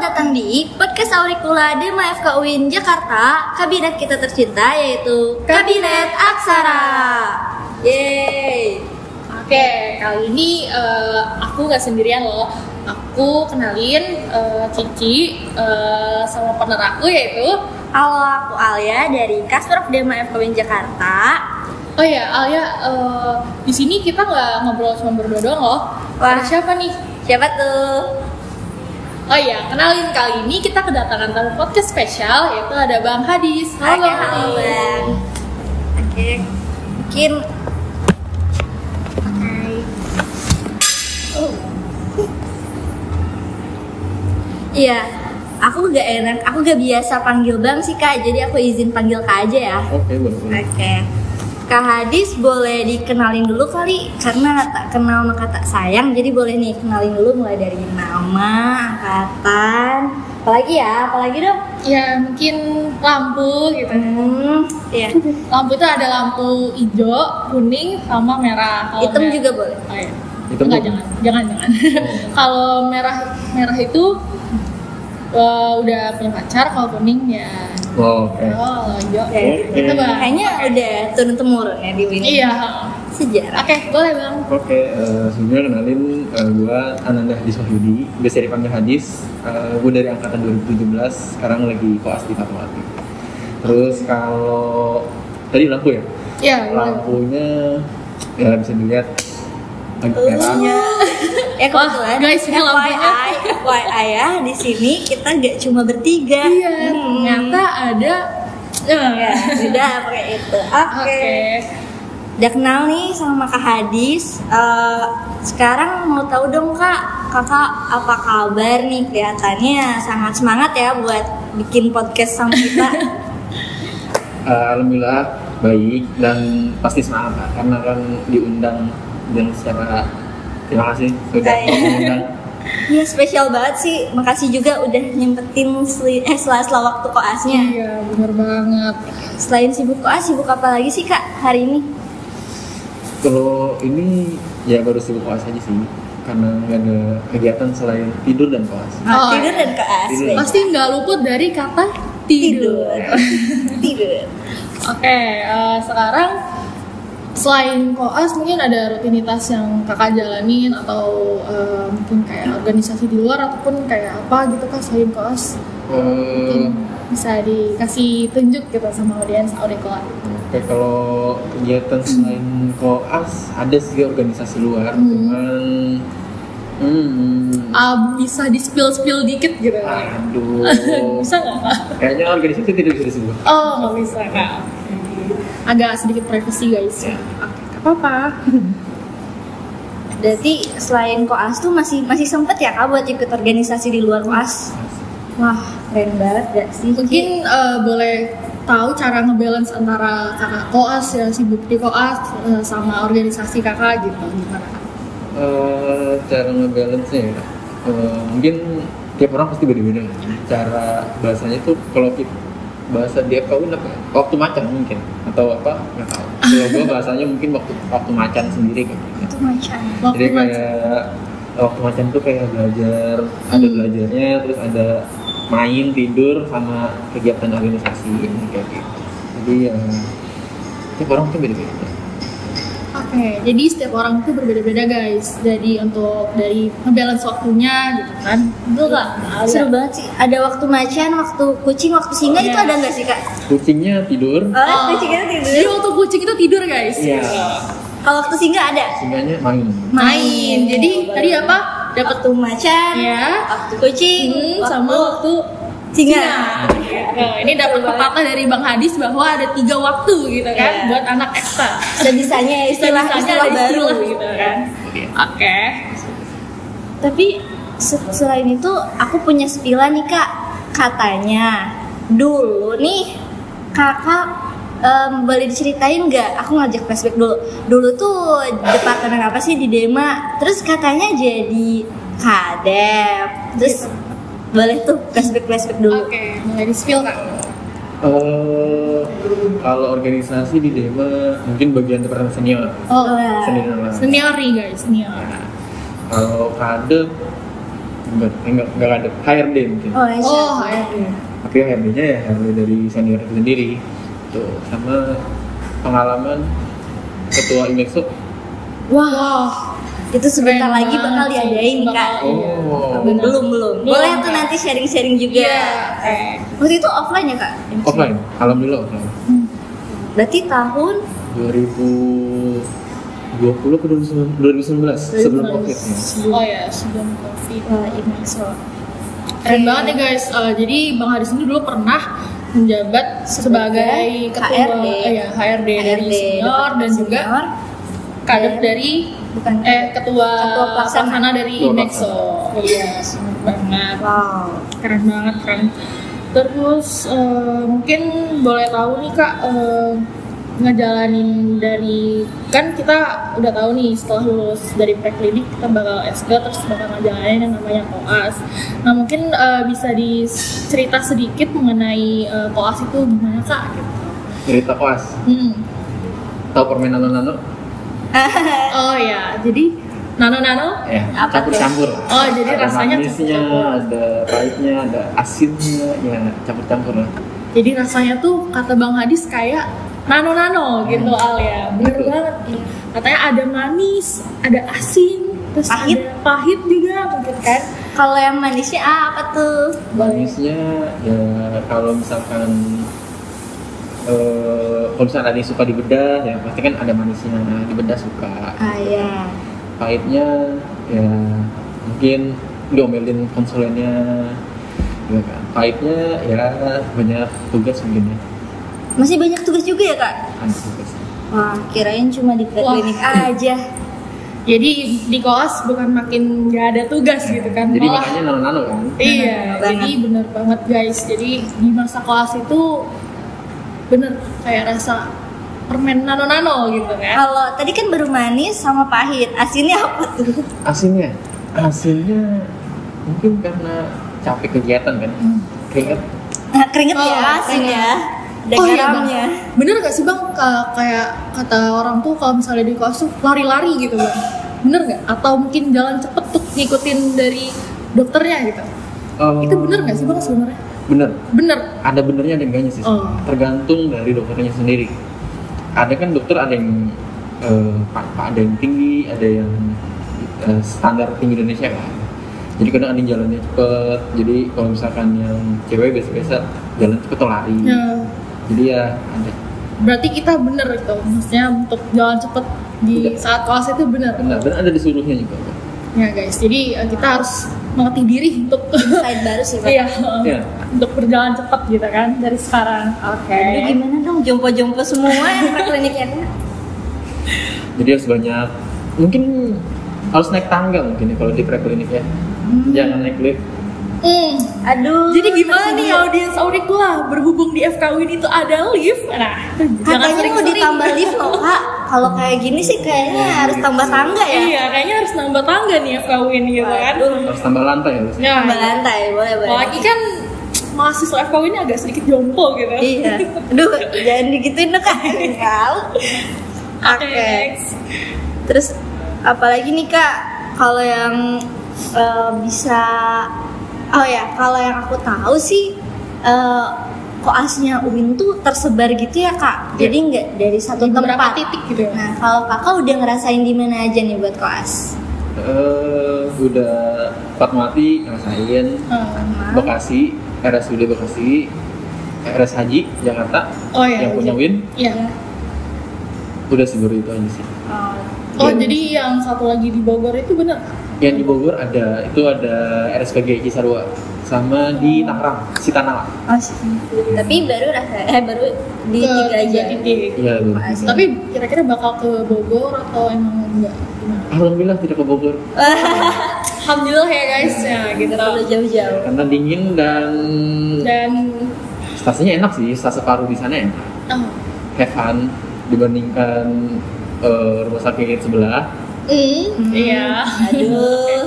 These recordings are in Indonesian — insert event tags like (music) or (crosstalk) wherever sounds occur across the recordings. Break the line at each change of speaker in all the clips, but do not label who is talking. datang di podcast Aurikula Dema FK UIN Jakarta, kabinet kita tercinta yaitu Kabinet Aksara. Yeay.
Oke, kali ini eh, aku nggak sendirian loh. Aku kenalin eh, Cici eh, sama partner aku yaitu
Halo, aku Alia dari Kasprof Dema FK UIN Jakarta.
Oh ya, Alia eh, di sini kita nggak ngobrol cuma berdua doang loh.
Wah.
Ada siapa nih?
Siapa tuh?
Oh iya, kenalin kali ini kita kedatangan tamu podcast spesial yaitu ada Bang Hadis. Halo.
Oke, halo Bang. Oke. Mungkin Hai. Oh. Iya, aku gak enak, aku gak biasa panggil Bang sih Kak, jadi aku izin panggil Kak aja ya.
Oke, boleh. boleh.
Oke. Kak Hadis boleh dikenalin dulu kali karena tak kenal maka tak sayang. Jadi boleh nih kenalin dulu mulai dari nama, angkatan, apalagi ya, apalagi dong.
Ya mungkin lampu gitu.
Hmm, iya.
Lampu itu ada lampu hijau, kuning, sama merah. Kalau
Hitam
mer-
juga boleh.
Oh, iya.
Hitam
Enggak,
tuh.
jangan, jangan, jangan. (laughs) kalau merah merah itu eh, udah punya pacar, kalau kuning ya
Oh, oke.
oh, hijau.
Ya, gitu.
Gitu, Bang.
Kayaknya udah turun temurun ya di Winnie.
Iya.
Sejarah.
Oke, boleh bang.
Oke, eh, sebelumnya kenalin eh, gua Ananda Hadis Wahyudi, biasa dipanggil Hadis. Eh, gua dari angkatan 2017, sekarang lagi koas di Fatmawati. Terus kalau tadi lampu ya?
Iya. boleh.
Lampunya ya bisa dilihat agak merah.
Iya. (laughs) Ya
Wah,
kebetulan.
guys, ini lampunya.
FYI, FYI ya, di sini kita gak cuma bertiga.
Iya.
Hmm.
Ternyata ada. Iya.
Ya, sudah pakai itu. Oke.
Oke.
Udah kenal nih sama Kak Hadis. Eh, sekarang mau tahu dong Kak, Kakak apa kabar nih? Kelihatannya sangat semangat ya buat bikin podcast sama
(laughs)
kita.
Eh, Alhamdulillah baik dan pasti semangat Kak, karena kan diundang dan secara terima kasih sudah
Baik.
mengundang.
Iya spesial banget sih. Makasih juga udah nyempetin seli- eh, sela-sela waktu koasnya.
Iya, bener banget.
Selain sibuk koas, sibuk apa lagi sih Kak hari ini?
Kalau ini ya baru sibuk koas aja sih karena nggak ada kegiatan selain tidur dan koas.
Oh,
Ah, tidur dan koas.
Tidur.
baik.
Pasti nggak luput dari kata
tidur.
(laughs) tidur.
tidur.
Oke, eh, sekarang selain koas mungkin ada rutinitas yang kakak jalanin atau eh, mungkin kayak organisasi di luar ataupun kayak apa gitu kak selain koas
Eh,
mungkin bisa dikasih tunjuk gitu sama audiens audikola.
Oke kalau kegiatan selain koas ada sih organisasi luar
Hmm.
cuman hmm,
Ah, bisa di spill spill dikit gitu.
aduh
(laughs) bisa nggak kak?
kayaknya organisasi tidak bisa disebut.
Oh nggak bisa kak. Agak sedikit privacy guys.
Ya.
Oke, nggak apa-apa.
Berarti selain koas tuh masih masih sempet ya Kak buat ikut organisasi di luar koas? Wah, keren banget gak sih?
Mungkin eh, boleh tahu cara ngebalance antara kakak koas yang sibuk di koas eh, sama organisasi kakak gitu gimana? Kak?
eh cara ngebalance nya ya eh, mungkin tiap orang pasti beda-beda ya. cara bahasanya tuh kalau kita bahasa dia kau apa ya? waktu macan mungkin atau apa nggak tahu kalau gue bahasanya mungkin waktu waktu macan sendiri kayak gitu
itu macan.
jadi
Waktu macet.
kayak waktu macan tuh kayak belajar ada
Hmm.
belajarnya terus ada main tidur sama kegiatan organisasi ini kayak gitu jadi ya tiap orang tuh beda-beda
Oke, jadi setiap orang tuh berbeda-beda guys. Jadi untuk dari ngebalance waktunya gitu kan. Betul nggak?
Seru banget sih. Ada waktu macan, waktu kucing, waktu singa itu
Yes.
ada nggak sih kak?
kucingnya tidur
Ah.
Oh, kucingnya
Jadi
tidur.
waktu kucing itu tidur guys.
Iya.
Kalau waktu singa ada.
singanya main
Main. Jadi
Baru.
tadi apa? Dapat
Waktu macan,
Iya.
waktu kucing,
Hmm,
waktu
sama waktu
singa.
Nah, ini dapat pepatah dari Bang Hadis bahwa ada tiga waktu gitu kan
Iya.
buat anak ekstra.
Sebisanya istilah istilah ya, baru.
gitu kan. Oke.
Tapi se- selain itu aku punya sepilan nih kak katanya dulu nih kakak em, boleh diceritain nggak? Aku ngajak flashback dulu. Dulu tuh departemen apa sih di Dema? Terus katanya jadi kadep. Terus boleh tuh flashback flashback dulu.
Oke, mulai di spill Kak.
Hmm. Eh, kalau organisasi di Dema mungkin bagian departemen senior.
Oh,
Wah.
Senior lah.
senior nih guys, senior.
Kalau kadep enggak enggak enggak ada HRD mungkin
Oh, ya,
Oh,
siap.
HRD.
akhirnya HRD-nya ya HRD dari senior itu sendiri tuh sama pengalaman ketua Imexo
Wah,
Wah,
itu sebentar
Keren
lagi bakal
banget.
diadain kak.
Bakal- iya.
Oh.
Benar.
Ah, Belum belum.
Belum,
Boleh tuh
Kak.
nanti sharing-sharing juga.
Iya.
Waktu itu offline ya kak?
offline alhamdulillah offline
Berarti tahun
2020 ke 2019 sebelum covid ya.
Oh iya. ya, sebelum COVID.
eh, ini so.
Keren banget ya guys. Eh, jadi Bang Haris ini dulu pernah menjabat sebagai
Sebagai
ketua
HRD.
eh, ya, HRD, dari
HRD,
senior dan juga
senior,
kader
dan-
dari
bukan
eh ketua,
Ketua pelaksana.
pelaksana dari
Ketua
Imexo. Iya, benar banget.
Wow.
Keren banget, keren. Terus eh, mungkin boleh tahu nih Kak eh, ngejalanin dari kan kita udah tahu nih setelah lulus dari preklinik kita bakal S2 terus bakal ngejalanin yang namanya koas. Nah, mungkin eh, bisa dicerita sedikit mengenai eh, koas itu gimana Kak gitu.
cerita koas
Hmm.
tahu permen nano nano
Oh ya, jadi nano-nano
ya
Apa
campur campur
Oh, jadi
ada
rasanya
manisnya
campur-campur.
ada pahitnya ada asinnya ya campur campur lah
Jadi rasanya tuh kata Bang Hadis kayak nano-nano gitu Al ya. Bener
Betul.
banget. Katanya ada manis, ada asin, terus
Pahit.
ada pahit juga mungkin kan.
Kalau yang manisnya ah, apa tuh?
manisnya ya kalau misalkan eh kalau misalkan ada yang suka di bedah ya pasti kan ada manisnya nah, di bedah suka
Ah ya.
pahitnya ya mungkin diomelin konsulennya gitu kan pahitnya ya banyak tugas mungkin ya
Masih banyak tugas juga ya kak?
ada tugas
Wah, kirain cuma di klinik aja.
Jadi di koas bukan makin nggak ada tugas gitu kan.
jadi
Malah-
makanya nano-nano kan
(laughs) Iya,
Bener
jadi bener banget guys. Jadi di masa koas itu bener kayak rasa permen nano-nano gitu kan.
Kalau tadi kan baru manis sama pahit, asinnya apa tuh?
asinnya asinnya mungkin karena capek kegiatan kan
Hmm.
keringet
Nah, keringet
Oh,
ya asin
keringet.
ya. Dan
iya,
garamnya.
Bang. Bener gak sih bang, Ka- kayak kata orang tuh kalau misalnya di koas tuh lari-lari gitu bang Bener gak? Atau mungkin jalan cepet tuh ngikutin dari dokternya gitu
Eh,
Itu bener gak sih bang sebenarnya?
bener
Bener
ada benernya ada enggaknya sih
Oh.
tergantung dari dokternya sendiri ada kan dokter ada yang eh, pa- pa- ada yang tinggi ada yang eh, standar tinggi Indonesia kan jadi kadang ada yang jalannya cepet jadi kalau misalkan yang cewek biasa-biasa jalan cepet atau lari
ya,
jadi ya ada
Berarti kita bener gitu, maksudnya untuk jalan cepet di
Iya.
saat koas itu bener
benar dan ada disuruhnya juga
Ya guys, jadi eh, kita harus mengerti diri untuk (laughs)
Insight baru sih, Pak.
Iya,
Iya.
untuk berjalan cepet gitu kan dari sekarang. Oke.
Aduh, gimana dong jompo-jompo semua
(laughs)
yang prekliniknya
jadi harus banyak mungkin harus naik tangga mungkin ya kalau di preklinik ya jangan naik lift
Hmm.
Aduh.
Jadi gimana nih
tersenyum.
audiens Aurikula berhubung di FK Win itu ada lift. Nah, jangan
Katanya mau
sering-sering.
ditambah
(laughs)
lift loh kak. Kalau kayak gini sih kayaknya harus tambah tangga ya.
Iya, kayaknya harus nambah tangga nih FK Win gitu kan.
harus tambah lantai harus
Ya.
Tambah lantai boleh boleh.
Apalagi kan mahasiswa FK Win agak sedikit jompo gitu.
Iya. Aduh jangan digituin dong kak. Kau.
(laughs)
Oke.
Oke. next.
Terus apalagi nih kak kalau yang eh, bisa oh ya kalau yang aku tahu sih eh, koasnya Uin tuh tersebar gitu ya kak.
Iya.
Jadi nggak dari satu
Di beberapa
tempat.
titik gitu ya.
Nah kalau kakak udah ngerasain di mana aja nih buat koas?
eh udah Fatmawati ngerasain
Hmm.
Bekasi RSUD Bekasi RS Haji Jakarta
Oh ya.
yang punya Win
Iya.
udah sih baru itu aja sih
Oh,
Oh,
Iya.
jadi yang satu lagi di Bogor itu benar.
yang di Bogor ada itu ada RSPG Cisarua sama di Tangerang Sitanala
Oh, sih. tapi baru rasa eh baru di
Ke
tiga aja.
tiga titik.
iya Bu.
Makasih.
Tapi kira-kira bakal ke Bogor atau emang enggak? Gimana?
Alhamdulillah tidak ke Bogor
Alhamdulillah ya guys, ya gitu.
Terlalu jauh-jauh.
karena dingin dan
Dan
stasiunnya enak sih stasiun paru di sana enak
oh,
have fun dibandingkan eh, rumah sakit sebelah
mm, iya.
Aduh.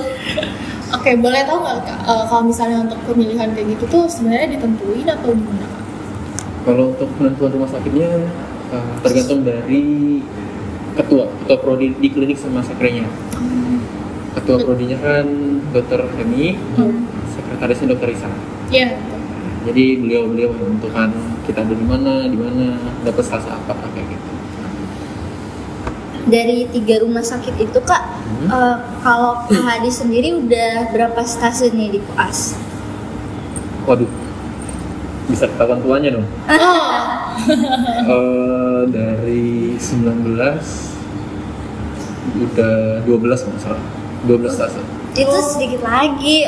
Oke, boleh tahu nggak Kak, eh, kalau misalnya untuk pemilihan kayak gitu tuh sebenarnya ditentuin atau gimana? Kak?
Kalau untuk penentuan rumah sakitnya eh, tergantung dari ketua, ketua prodi di klinik sama sekretnya. Ketua prodinya kan Dr. Femi, sekretarisnya Dr. Risa.
Iya.
Jadi beliau-beliau menentukan kita ada di mana, di mana, dapat stasa apa kayak gitu.
dari tiga rumah sakit itu kak
Hmm.
eh, kalau Kak Hadi sendiri udah berapa stasiun nih di koas
Waduh, bisa ketahuan tuanya
(laughs)
dong. Eh, dari 19 udah 12 masalah. 12 stasa.
itu sedikit lagi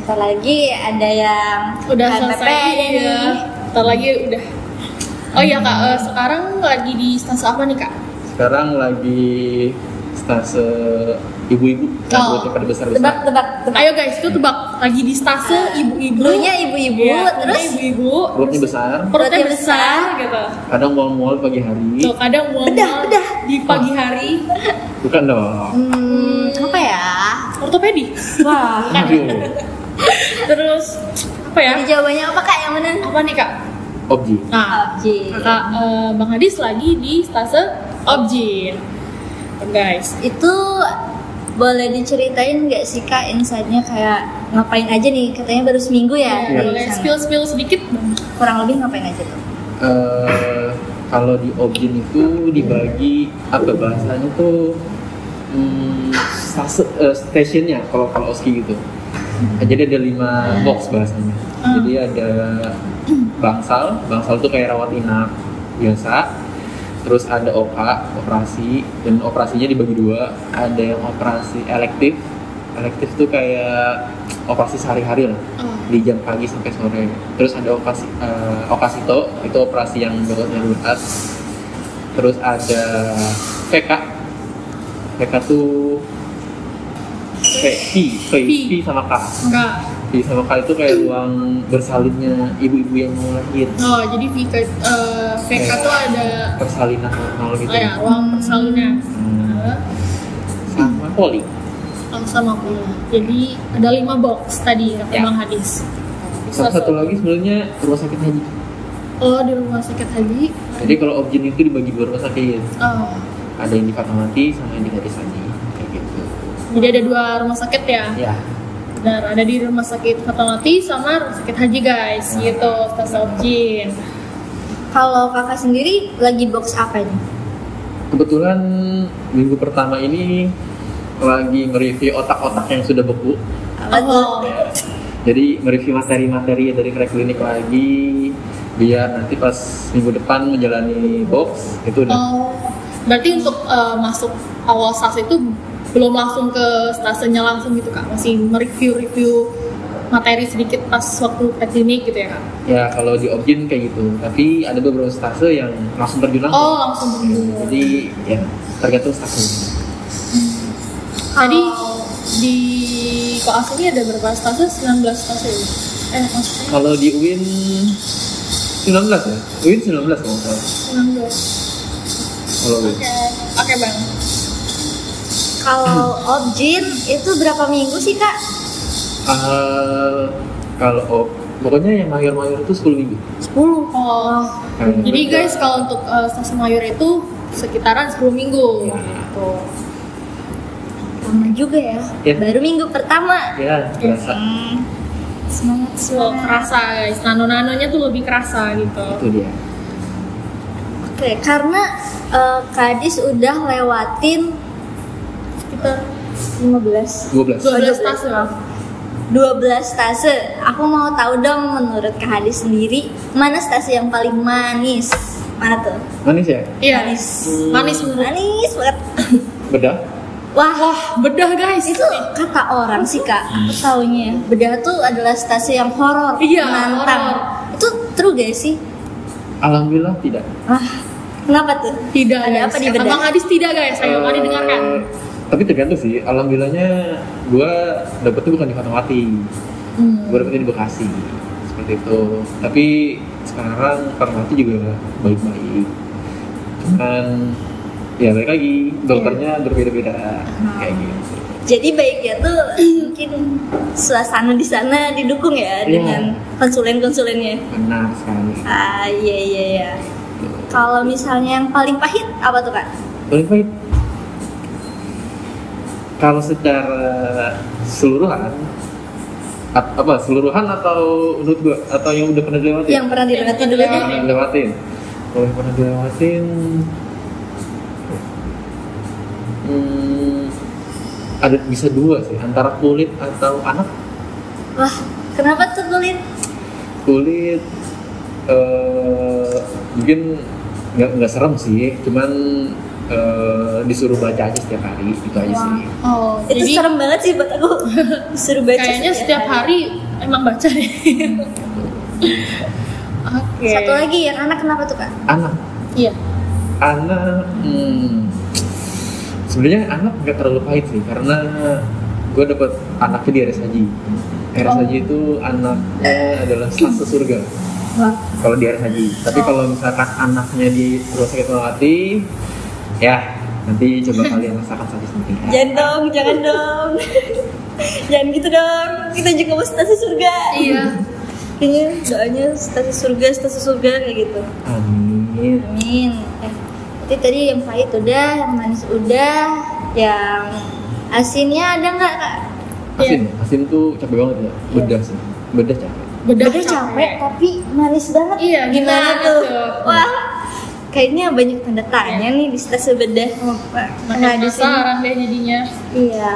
Bentar lagi ada yang
udah
KPP
selesai
ada nih.
ya. Ntar lagi udah. Oh iya kak, eh, sekarang lagi di stase apa nih kak?
Sekarang lagi stase ibu-ibu yang
Oh.
buatnya pada besar-besar.
tebak tebak tebak
Ayo guys, itu tebak lagi di stase ibu-ibu.
dulunya ibu-ibu
Iya,
terus
perutnya ibu-ibu.
Perutnya besar,
Perutnya
Perutnya
besar,
besar.
gitu.
kadang mual-mual pagi hari.
Tuh kadang mual
Bedah, bedah.
di pagi hari.
Bukan dong.
hmm, apa ya
Ortopedi.
wah
Aduh,
Terus apa ya?
Jadi jawabannya apa kak yang mana
Apa nih kak?
obji.
Nah,
objek
Kak eh, Bang Hadis lagi di stase objin. Tuh, Guys,
itu boleh diceritain nggak sih kak insightnya kayak ngapain aja nih katanya baru seminggu ya
Ya,
dari
boleh
sana.
spill spill sedikit Bang?
kurang lebih ngapain aja tuh
eh kalau di objin itu dibagi apa bahasanya tuh hmm, stase, eh, stationnya kalau kalau oski gitu Nah, jadi ada lima box bahasanya jadi ada bangsal bangsal tuh kayak rawat inap biasa terus ada oka operasi dan operasinya dibagi dua ada yang operasi elektif elektif tuh kayak operasi sehari-hari lah di jam pagi sampai sore terus ada operasi eh, okasito itu operasi yang dokter darurat terus ada PK PK tuh P, P, P, P sama K
Kak.
P sama K itu kayak ruang bersalinnya ibu-ibu yang mau lahir
Oh, jadi VK, eh, VK tuh ada
Iya. persalinan normal gitu
oh ya, ruang persalinan.
Hmm. sama poli
Oh, sama pula. Jadi ada lima box tadi kata
Ya.
Bang Hadis. Di
sama
stase-
satu lagi sebenarnya rumah sakit haji
Oh, di rumah sakit Haji.
jadi kalau objin itu dibagi dua rumah sakit ya.
Oh,
ada yang di Fatmawati sama yang di Gadis Haji kayak gitu
jadi ada dua rumah sakit ya.
ya
Benar, ada di rumah sakit Fatmawati sama rumah sakit Haji guys, gitu, stase objin.
kalau kakak sendiri lagi box apa nih
Kebetulan minggu pertama ini lagi mereview otak-otak yang sudah beku.
Oh,
Jadi mereview materi-materi dari klinik lagi biar nanti pas minggu depan menjalani box itu udah
Oh, berarti untuk eh, masuk awal stase itu belum langsung ke stasenya langsung gitu kak, masih mereview-review materi sedikit pas waktu klinik gitu ya kak?
ya kalau di objin kayak gitu. Tapi ada beberapa stase yang langsung
Oh,
terjun
langsung
langsung.
dulu. Jadi,
Jadi ya tergantung stase.
di koas ini ada berapa stase? 19 stase ya? Eh, maksudnya
Kalau di UIN 19 ya? UIN 19 kalau nggak salah.
19. Oke,
Kalau UIN.
oke bang.
kalau objin itu berapa minggu sih kak
Eh, kalau op- pokoknya yang mayor-mayor itu 10 minggu.
10
Oh,
Hmm.
jadi guys kalau untuk eh, stase mayor itu sekitaran 10 minggu.
Ya.
Gitu.
lama juga ya
Iya.
baru minggu pertama
Ya, berasa
hmm. semangat
So,
semangat
kerasa guys, nano-nanonya tuh lebih kerasa gitu.
itu dia.
oke karena eh, kadis udah lewatin
Sekitar
15
12.
12 tas ya.
12 stase. Aku mau tahu dong menurut Kak Hadi sendiri, mana stase yang paling manis? Mana tuh?
Manis ya?
Iya.
Manis.
Manis menurut.
Manis banget.
Bedah?
Wah,
Bedah guys.
itu kata orang sih Kak. Aku taunya. Bedah tuh adalah stase yang horor,
Hmm. Iya,
menantang.
horor.
Itu true gak sih?
Alhamdulillah tidak.
Ah, kenapa tuh?
tidak
Ada
guys.
apa di
Kata
bedah?
Bang Hadis tidak guys. Ayo mari
Eh,
dengarkan.
Tapi tergantung sih, alhamdulillahnya gua dapetnya bukan di Fatmawati.
Hmm.
Gua dapetnya di Bekasi. Seperti itu. Tapi sekarang Fatmawati juga baik-baik. Cuman ya balik lagi, dokternya
Iya.
berbeda-beda kayak gitu.
Jadi baiknya tuh (clears throat) mungkin suasana di sana didukung ya
Iya.
dengan konsulen-konsulennya.
Benar sekali.
Ah, iya iya iya. Kalau misalnya yang paling pahit apa tuh Kak?
Paling pahit kalau secara seluruhan at- apa seluruhan atau menurut gua atau yang udah pernah dilewatin
yang pernah dilewati dulu ya. deh
pernah dilewatin kalau yang pernah dilewatin hmm, ada bisa dua sih antara kulit atau anak
wah kenapa tuh kulit
kulit eh mungkin nggak nggak serem sih cuman eh, disuruh baca aja setiap hari itu aja sih
Oh,
itu
jadi
serem banget sih buat aku (laughs) disuruh baca
kayaknya setiap hari emang baca deh. (laughs) Oke.
satu lagi yang anak kenapa tuh kak
anak
Iya.
anak hmm, sebenarnya anak nggak terlalu pahit sih karena gue dapet anaknya di RS Haji RS Haji itu anaknya adalah stase surga
Wah.
kalau di RS Haji tapi kalau misalkan anaknya di rumah sakit Melati ya nanti (laughs) coba kalian rasakan sakit sendiri
jangan dong jangan dong (laughs) jangan gitu dong kita juga mau stasi surga
Iya.
(laughs) kayaknya doanya stasi surga stasi surga kayak gitu
amin
amin ya. Jadi tadi yang pahit udah yang manis udah yang asinnya ada nggak kak
asin asin tuh capek banget ya bedah sih bedah capek
Bedah,
Udah capek tapi manis banget
Iya,
gimana,
gimana
tuh?
tuh?
wah kayaknya banyak tanda tanya nih di stasiun bedah
Makin
nah di sini
penasaran deh jadinya.
Iya.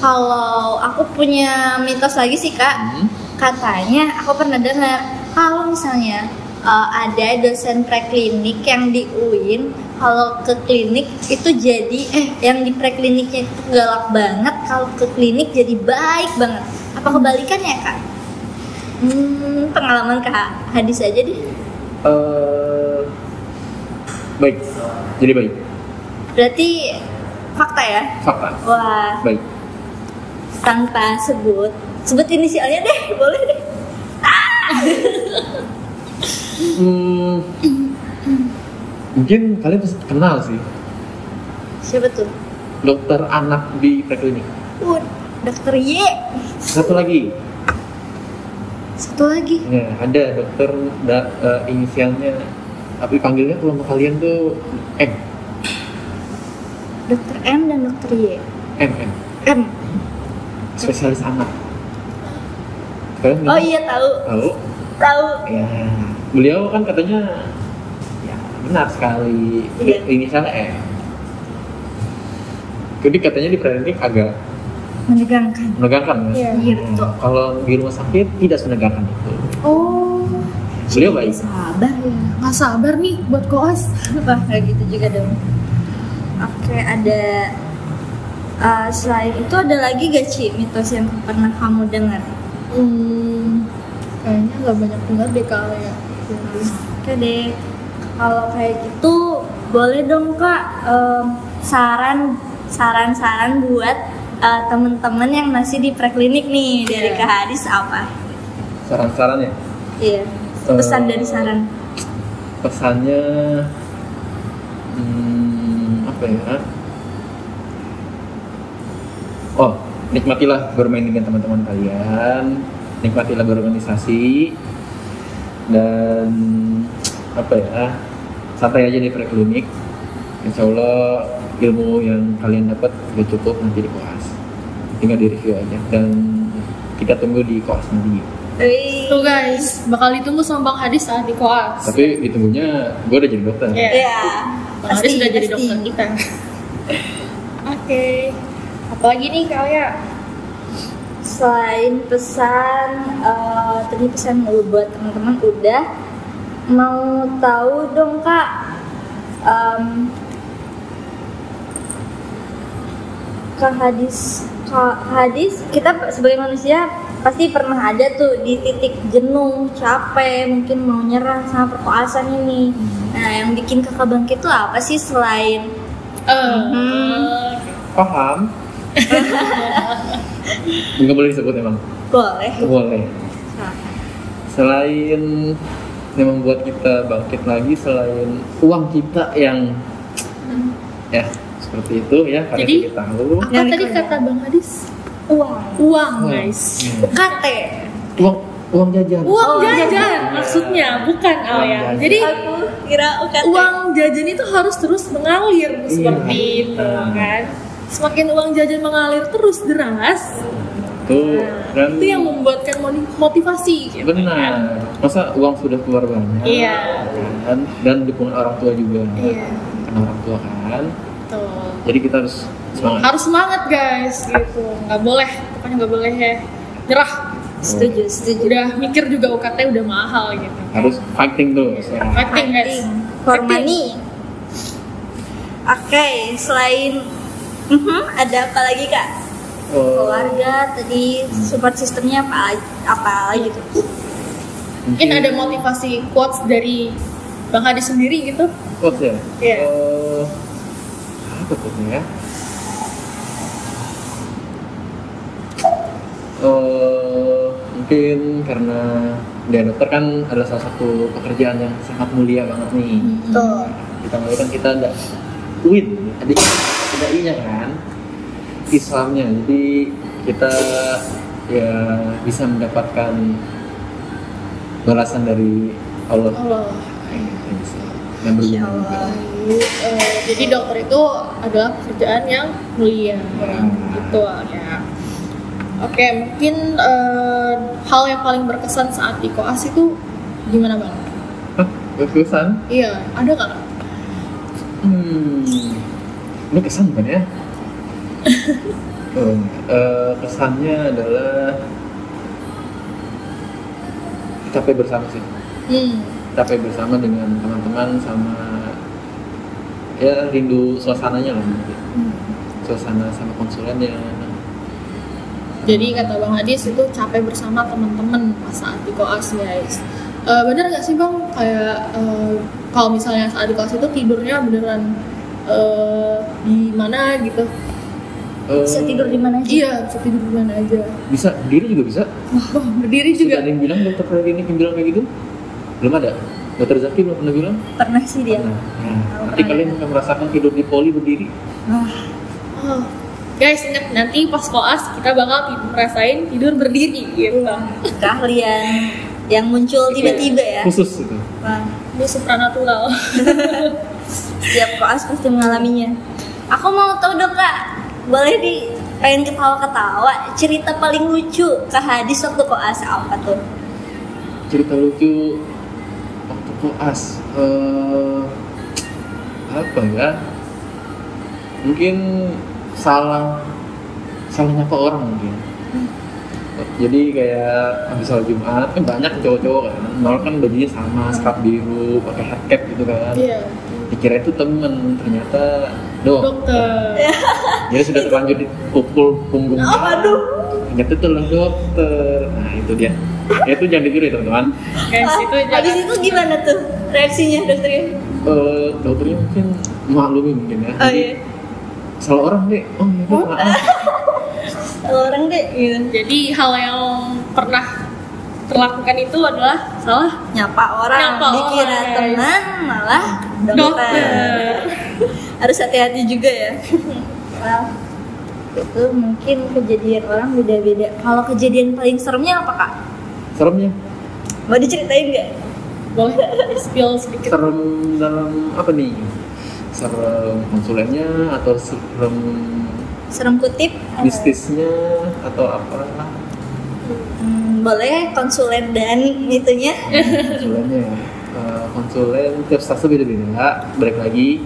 Kalau aku punya mitos lagi sih kak,
Hmm.
katanya aku pernah dengar kalau misalnya eh, ada dosen preklinik yang di UIN, kalau ke klinik itu jadi eh yang di prekliniknya itu galak banget, kalau ke klinik jadi baik banget. Apa kebalikannya kak? Hmm, pengalaman kak hadis aja deh.
Eh, baik jadi baik
Berarti fakta ya?
fakta
Wah,
baik
tanpa sebut sebut inisialnya deh (laughs) boleh deh
Hmm, mungkin kalian pasti kenal sih
siapa tuh
dokter anak di preklinik.
Wah, dokter Y
Satu lagi,
satu lagi
ya, ada dokter da- eh, inisialnya tapi panggilnya kalau sama kalian tuh M,
dokter M dan dokter Y
M, M,
M
spesialis anak. Kalian
oh
nggak
iya tahu
tahu?
tahu
Ya, beliau kan katanya ya benar sekali
Iya.
inisialnya M. Jadi katanya di preklinik agak
menegangkan
menegangkan ya.
Iya.
Iya,
Hmm,
betul.
Kalau di rumah sakit tidak menegangkan itu.
oh
Beliau baik.
sabar ya
Nggak Hmm. sabar nih buat koas.
wah kayak gitu juga dong oke ada eh, selain itu ada lagi gak Ci mitos yang pernah kamu dengar
Hmm, kayaknya nggak banyak dengar deh kalau ya.
Oke deh, kalau kayak gitu boleh dong kak em, saran saran saran buat eh, temen-temen yang masih di preklinik nih dari
Iya.
kak Hadis apa?
Saran-sarannya,
Iya.
Eh,
Pesan dan saran.
pesannya hmm, apa ya? Oh, nikmatilah bermain dengan teman-teman kalian, nikmatilah berorganisasi dan apa ya? Santai aja di preklinik. Insya Allah ilmu yang kalian dapat udah cukup nanti di koas. Tinggal di review aja dan kita tunggu di koas nanti.
Wih.
Tuh guys, bakal ditunggu sama Bang Hadis saat di koas.
Tapi ditunggunya gue udah jadi dokter.
Iya.
Iya.
Bang Hadis sudah jadi dokter kita. Oke. Apalagi nih kak ya?
Selain pesan eh, tadi pesan dulu buat teman-teman udah mau tahu dong kak em, Kak Hadis, Kak Hadis, kita sebagai manusia pasti pernah ada tuh di titik jenuh, capek, mungkin mau nyerah sama perkoasan ini. Nah, yang bikin kakak bangkit itu apa sih selain
Eh,
Hmm.
Mm-hmm.
Paham?
(laughs)
Enggak boleh disebut emang.
boleh?
Boleh. Selain yang membuat kita bangkit lagi selain uang kita yang ya seperti itu ya karena
Hmm. Jadi, oh,
kita tahu
apa
Nyari
tadi
kerja.
kata Bang Hadis?
Uang,
Uang
Uang.
guys.
Hmm.
KT,
uang uang jajan
Uang
Oh,
jajan
jajan.
maksudnya bukan
Uang
Alya.
jajan.
Jadi
aku kira UKT.
Iya.
uang jajan itu harus terus mengalir seperti itu kan. semakin uang jajan mengalir terus deras
Tuh,
nah,
dan
itu yang membuatkan moni- motivasi gitu
benar. Masa uang sudah keluar banyak.
Iya.
Kan? Dan dukungan orang tua juga.
Iya.
Karena orang tua kan.
Betul.
Jadi kita harus semangat.
harus semangat guys gitu nggak boleh pokoknya nggak boleh ya nyerah
Setuju, setuju.
udah mikir juga UKT udah mahal gitu
Harus fighting tuh. semangat.
fighting guys
for
Fighting.
money. Oke, selain Mhm, ada apa lagi kak?
Oh,
Keluarga tadi support sistemnya apa apa lagi tuh?
mungkin ada motivasi quotes dari Bang Hadi sendiri gitu
Quotes ya?
Iya.
Eh, apa quotesnya ya? Eh, mungkin karena dia dokter kan adalah salah satu pekerjaan yang sangat mulia banget nih.
Tuh.
Kita mulia kan kita ada win, ada I- ada i-nya kan. Islamnya, jadi kita ya bisa mendapatkan balasan dari Allah.
Allah
Yang bisa, yang
Insya
berguna juga.
Allah.
Eh, jadi dokter itu adalah pekerjaan yang mulia gitu ya oke mungkin eh, hal yang paling berkesan saat di koas itu gimana bang?
Hah, berkesan?
Iya ada nggak?
Hmm, ini kesan kan ya? Hmm, eh, kesannya adalah capek bersama sih,
Hmm.
capek bersama dengan teman-teman sama ya rindu suasananya lah, mungkin.
Hmm.
suasana sama Eh, konsulen yang
Jadi kata Bang Hadis itu capek bersama teman-teman pas saat di koas guys. Eh, bener nggak sih Bang kayak eh, kalau misalnya saat di koas itu tidurnya beneran eh, di mana gitu?
Eh,
Bisa tidur di mana aja?
Iya bisa tidur di mana aja.
bisa berdiri juga bisa.
Wah berdiri
Sudah
juga.
ada yang bilang dokter klinik yang bilang kayak gitu? Belum ada. Dokter Zaki belum pernah bilang.
Pernah sih dia.
Nah, nanti
ya.
kalian akan merasakan tidur di poli berdiri.
Wah,
Oh. Guys ingat nanti pas koas kita bakal ti- ngerasain tidur berdiri gitu.
keahlian yang muncul tiba-tiba ya.
Khusus gitu. itu.
Wah,
Ini
(laughs)
supranatural.
setiap koas pasti mengalaminya. Aku mau tahu dong kak, boleh di pengen ketawa-ketawa cerita paling lucu ke hadis waktu koas apa tuh?
Cerita lucu waktu koas. eh, apa ya? Mungkin salah salah nyapa orang mungkin. Jadi kayak habis sholat Jumat kan banyak cowok-cowok kan, nol kan bajunya sama, scarf biru, pakai hat cap gitu kan.
Iya.
Dikira itu temen, ternyata dok.
Dokter.
Iya.
Jadi sudah terlanjur dipukul punggungnya.
Oh, aduh.
Ternyata itu adalah dokter. Nah itu dia. Ya, itu jangan ditiru ya teman-teman.
Guys
Ah,
itu
(laughs) habis
jangan.
itu gimana tuh reaksinya dokternya?
Eh, dokternya mungkin maklumi mungkin ya.
Oh
Jadi,
iya,
Salah orang deh. Oh iya dok, maaf.
orang deh gitu.
Jadi hal yang pernah terlakukan itu adalah salah
Nyapa orang,
Nyapa
dikira
orang, guys.
teman malah dokter.
dokter.
Harus hati-hati juga ya. Well, itu mungkin kejadian orang beda-beda. Kalau kejadian paling seremnya apa kak?
Seremnya.
Mau diceritain nggak?
Boleh spill sedikit.
Serem dalam apa nih? Serem konsulennya atau serem
Serem kutip?
bisnisnya atau apa?
Hmm, boleh konsulen dan itunya.
konsulennya ya. Eh, konsulen tiap stase beda-beda balik lagi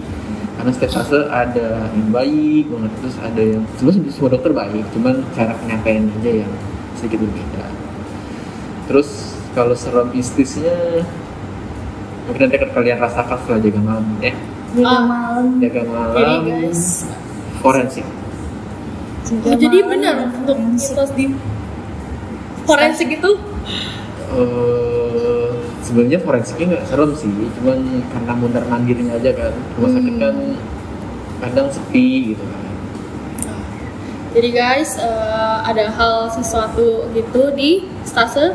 karena setiap stase ada yang baik banget terus ada yang sebenarnya semua dokter baik cuman cara penyampaian aja yang sedikit berbeda terus kalau serem istisnya mungkin nanti akan kalian rasakan setelah jaga malam ya
Jaga
Ah.
malam.
jaga
Jadi
malam
guys,
forensik
Jaga
oh, jadi
malam
benar
dan
untuk
forensik.
mitos di forensik itu
Eh, sebenarnya forensiknya nggak serem sih cuman karena mundar mandirnya aja kan rumah sakit kan kadang sepi gitu kan
jadi guys eh, ada hal sesuatu gitu di stase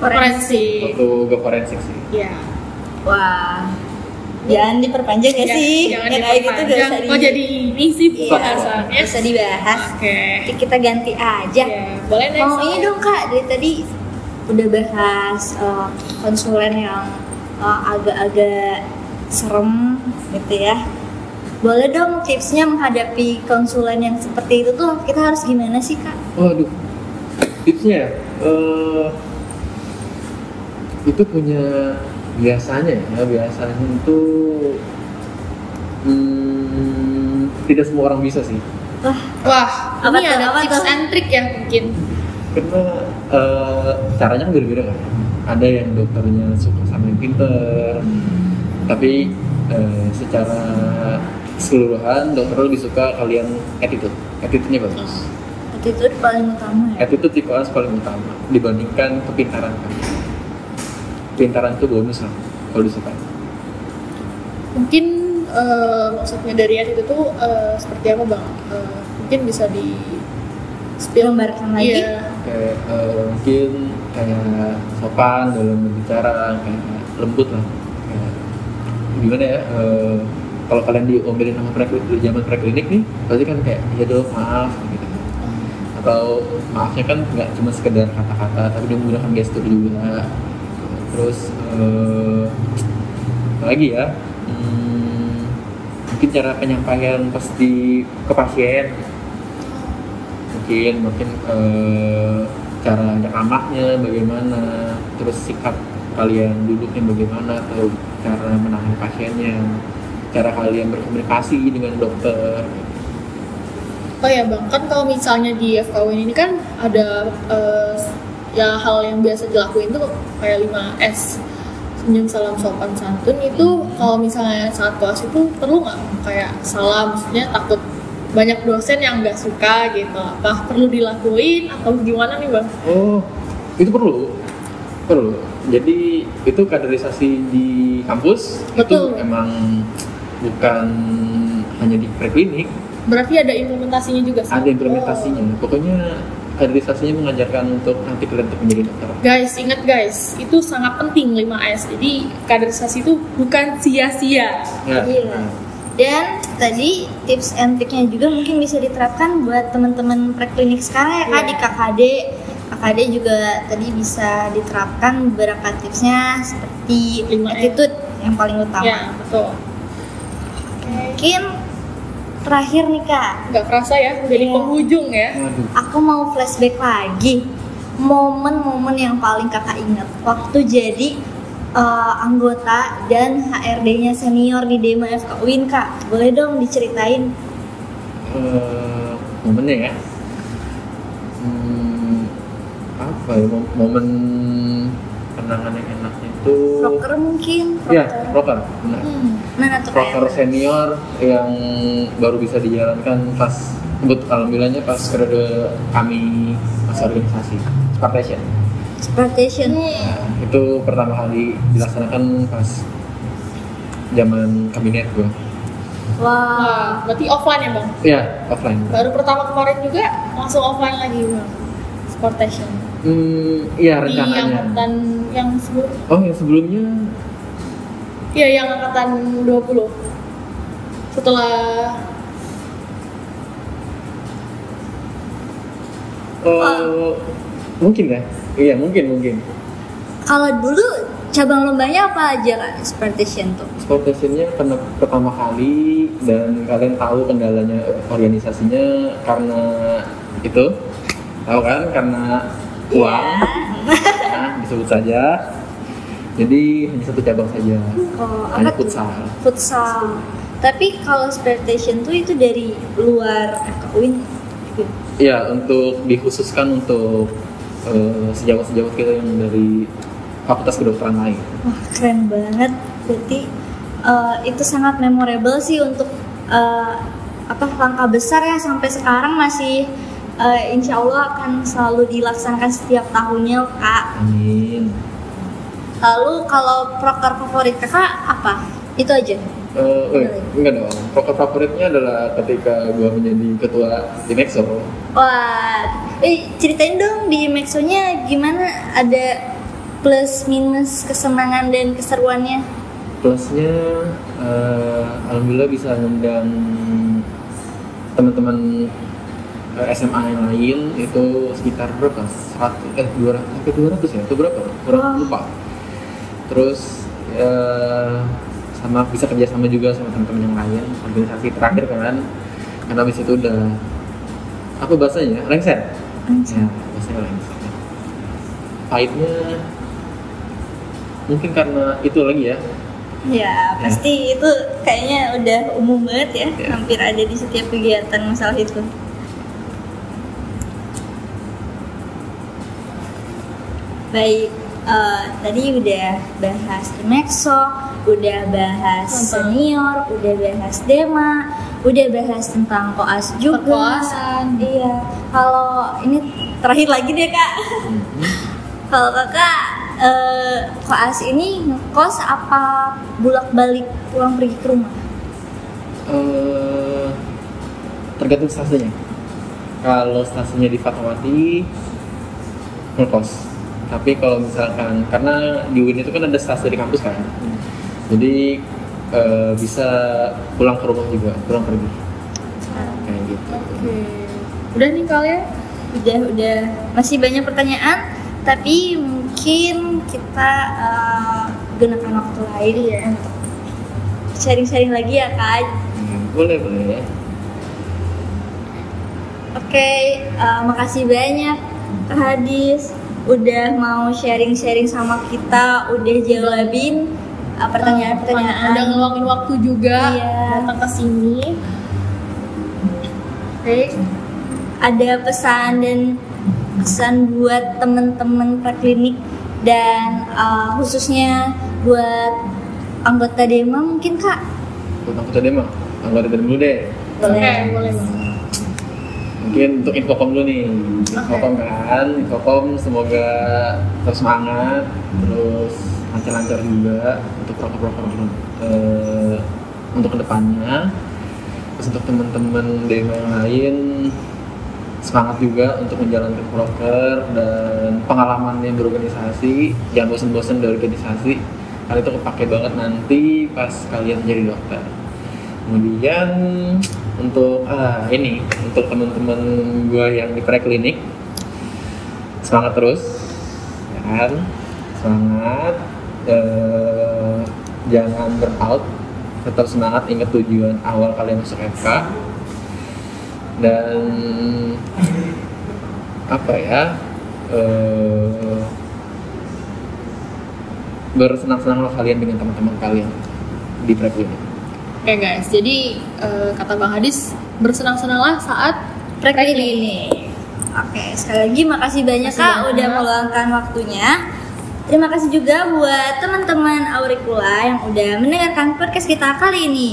forensik.
waktu gak forensik sih
Ya.
Wah. Jangan diperpanjang ya,
Jangan-
sih.
Iya, Jangan
Yang kayak gitu gak
diperpanjang.
usah di
Oh jadi ini sih
Iya,
pembahasannya.
gak usah dibahas.
Oke.
Nanti kita ganti aja.
Ya, boleh next.
Mau ini dong Kak, dari tadi udah bahas eh, konsulen yang eh, agak-agak serem gitu ya. boleh dong tipsnya menghadapi konsulen yang seperti itu tuh kita harus gimana sih kak?
Waduh, tipsnya ya, eh, itu punya biasanya ya, biasanya itu hmm, tidak semua orang bisa sih.
Wah,
Wah,
Apa
ini
tuh,
ada
apa
tips
tuh?
and trick ya mungkin.
Karena eh, caranya kan beda-beda kan. Ada yang dokternya suka sama yang pinter, tapi eh, secara keseluruhan dokter lebih suka kalian attitude, attitude-nya bagus.
attitude paling utama ya.
attitude di kelas paling utama dibandingkan kepintaran kan kepintaran itu bonus lah kalau disuka
Mungkin eh, maksudnya dari Ed itu tuh eh, seperti apa bang? Eh, mungkin bisa di spill
Gambarkan lagi?
Iya.
kayak eh, mungkin kayak sopan dalam berbicara kayak lembut lah kayak, gimana ya eh, kalau kalian diomelin sama preklinik di zaman preklinik nih pasti kan kayak ya dong maaf gitu atau maafnya kan nggak cuma sekedar kata-kata tapi dia menggunakan gestur juga terus eh, apa lagi ya Hmm, mungkin cara penyampaian pas di ke pasien mungkin mungkin eh, cara ramahnya bagaimana terus sikap kalian duduknya bagaimana atau cara menangani pasiennya cara kalian berkomunikasi dengan dokter
Oh ya bang, kan kalau misalnya di FKW ini kan ada eh, ya hal yang biasa dilakuin tuh kayak 5S senyum salam sopan santun itu kalau misalnya saat kelas itu perlu nggak kayak salam maksudnya takut banyak dosen yang nggak suka gitu apa perlu dilakuin atau gimana nih bang?
Oh, itu perlu. Perlu. Jadi itu kaderisasi di kampus
Betul.
itu emang bukan hanya di preklinik,
Berarti ada implementasinya juga sih?
ada implementasinya. Pokoknya kaderisasinya mengajarkan untuk nanti kalian untuk menjadi dokter.
Oh. Guys, ingat guys, itu sangat penting 5S. Jadi kaderisasi itu bukan sia-sia.
Ya.
Iya. Dan tadi tips and triknya juga mungkin bisa diterapkan buat teman-teman preklinik sekarang ya kak
Iya.
di KKD. KKD juga tadi bisa diterapkan beberapa tipsnya seperti
5M.
attitude yang paling utama.
Ya, betul.
Mungkin terakhir nih kak,
nggak kerasa ya udah di
Iya.
penghujung ya
Waduh.
aku mau flashback lagi momen-momen yang paling kakak ingat waktu jadi eh, anggota dan HRD-nya senior di Dema FK Win kak. Boleh dong diceritain?
Eh, momennya ya. Hmm, apa ya mom- momen kenangan yang enak itu
Broker mungkin?
ya
Broker.
proker benar
Hmm. Mana tuh
proker
Kak?
senior yang baru bisa dijalankan pas but alhamdulillahnya pas periode kami masa organisasi Spartation
Exploitation.
Nah, itu pertama kali dilaksanakan pas zaman kabinet gua
Wow.
Wah, berarti offline ya bang
ya offline
baru pertama kemarin juga langsung offline lagi bang sportation
hmm iya
di
ya.
rencananya
angkatan yang sebelum
oh yang sebelumnya
ya yang angkatan 20 setelah
eh, mungkin ya iya mungkin mungkin
Kalau dulu cabang lombanya apa aja kak? Exploitation tuh.
Sportationnya karena pertama kali dan kalian tahu kendalanya eh, organisasinya karena itu tahu kan karena uang
Iya.
nah, disebut saja jadi hanya satu cabang saja
Oh,
hanya
apa tuh?
futsal
Futsal. Tapi kalau exploitation tuh itu dari luar eh, FKUIN.
ya untuk dikhususkan untuk eh, sejawat-sejawat kita yang dari fakultas kedokteran lain
Wah keren banget. Berarti eh, itu sangat memorable sih untuk eh, apa langkah besar ya sampai sekarang masih eh, insya Allah akan selalu dilaksanakan setiap tahunnya kak.
amin
Lalu kalau proker favorit kakak apa? Itu aja.
Eh, eh, enggak dong proker favoritnya adalah ketika gua menjadi ketua tim EXO
Wah, eh, ceritain dong di Maxonya gimana ada plus minus kesenangan dan keseruannya.
plusnya eh, alhamdulillah bisa ngundang teman-teman eh, SMA yang lain itu sekitar berapa? 100 eh 200 sampai 200 ya? Itu berapa? Kurang
Wah.
lupa. Terus eh, sama bisa kerjasama juga sama teman-teman yang lain organisasi terakhir kan karena habis itu udah apa bahasanya lengser ya bahasanya lengser pahitnya mungkin karena itu lagi ya
Ya, pasti itu kayaknya udah umum banget ya,
Ya.
hampir ada di setiap kegiatan masalah itu. Baik, eh, tadi udah bahas Imexo, udah bahas
Tentang-
senior, udah bahas Dema, udah bahas tentang koas juga.
Perkoasan.
Iya, kalau ini terakhir lagi deh kak.
Hmm.
Kalau kakak eh, koas ini ngekos apa bolak balik pulang pergi ke rumah?
eh tergantung stasiunnya. Kalau stasiunnya di Fatmawati, ngekos. Tapi kalau misalkan, karena di UIN itu kan ada stasiun di kampus kan, jadi eh, bisa pulang ke rumah juga, pulang pergi kayak gitu.
Oke. Udah nih ya? kalian?
Udah udah masih banyak pertanyaan, tapi mungkin kita eh, gunakan waktu lain ya untuk sharing-sharing lagi ya kak.
Hmm, Boleh boleh.
Oke, eh, makasih banyak Kak Hadis udah mau sharing-sharing sama kita, udah jawabin eh, pertanyaan-pertanyaan.
Udah ngeluangin waktu juga
Iya.
datang ke sini. Oke.
ada pesan dan pesan buat teman-teman praklinik dan uh, khususnya buat anggota Dema mungkin kak
Buat anggota demo, anggota demo dulu deh.
Oke, boleh.
Mungkin untuk infokom dulu nih, infokom kan, infokom semoga terus semangat, terus lancar-lancar juga untuk proker-proker eh, untuk kedepannya. Terus untuk teman-teman demo yang lain semangat juga untuk menjalankan proker dan pengalaman yang berorganisasi jangan bosan-bosan dari organisasi karena itu kepake banget nanti pas kalian jadi dokter kemudian untuk ah, ini untuk teman-teman gue yang di preklinik semangat terus ya kan semangat eh, jangan burnout tetap semangat ingat tujuan awal kalian masuk FK dan apa ya eh, bersenang-senanglah kalian dengan teman-teman kalian di preklinik
Oke guys, jadi eh, kata Bang Hadis bersenang-senanglah saat
praklinik ini oke sekali lagi makasih banyak
Makasih
kak
banyak.
udah meluangkan waktunya terima kasih juga buat teman-teman Auricula yang udah mendengarkan podcast kita kali ini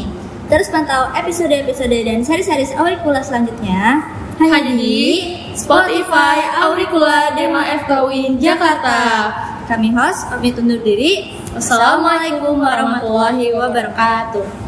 terus pantau episode-episode dan seri-seri Auricula selanjutnya
hanya di Spotify Auricula Dema FKUIN Jakarta.
Kami host pamit undur diri.
Wassalamualaikum warahmatullahi
wabarakatuh.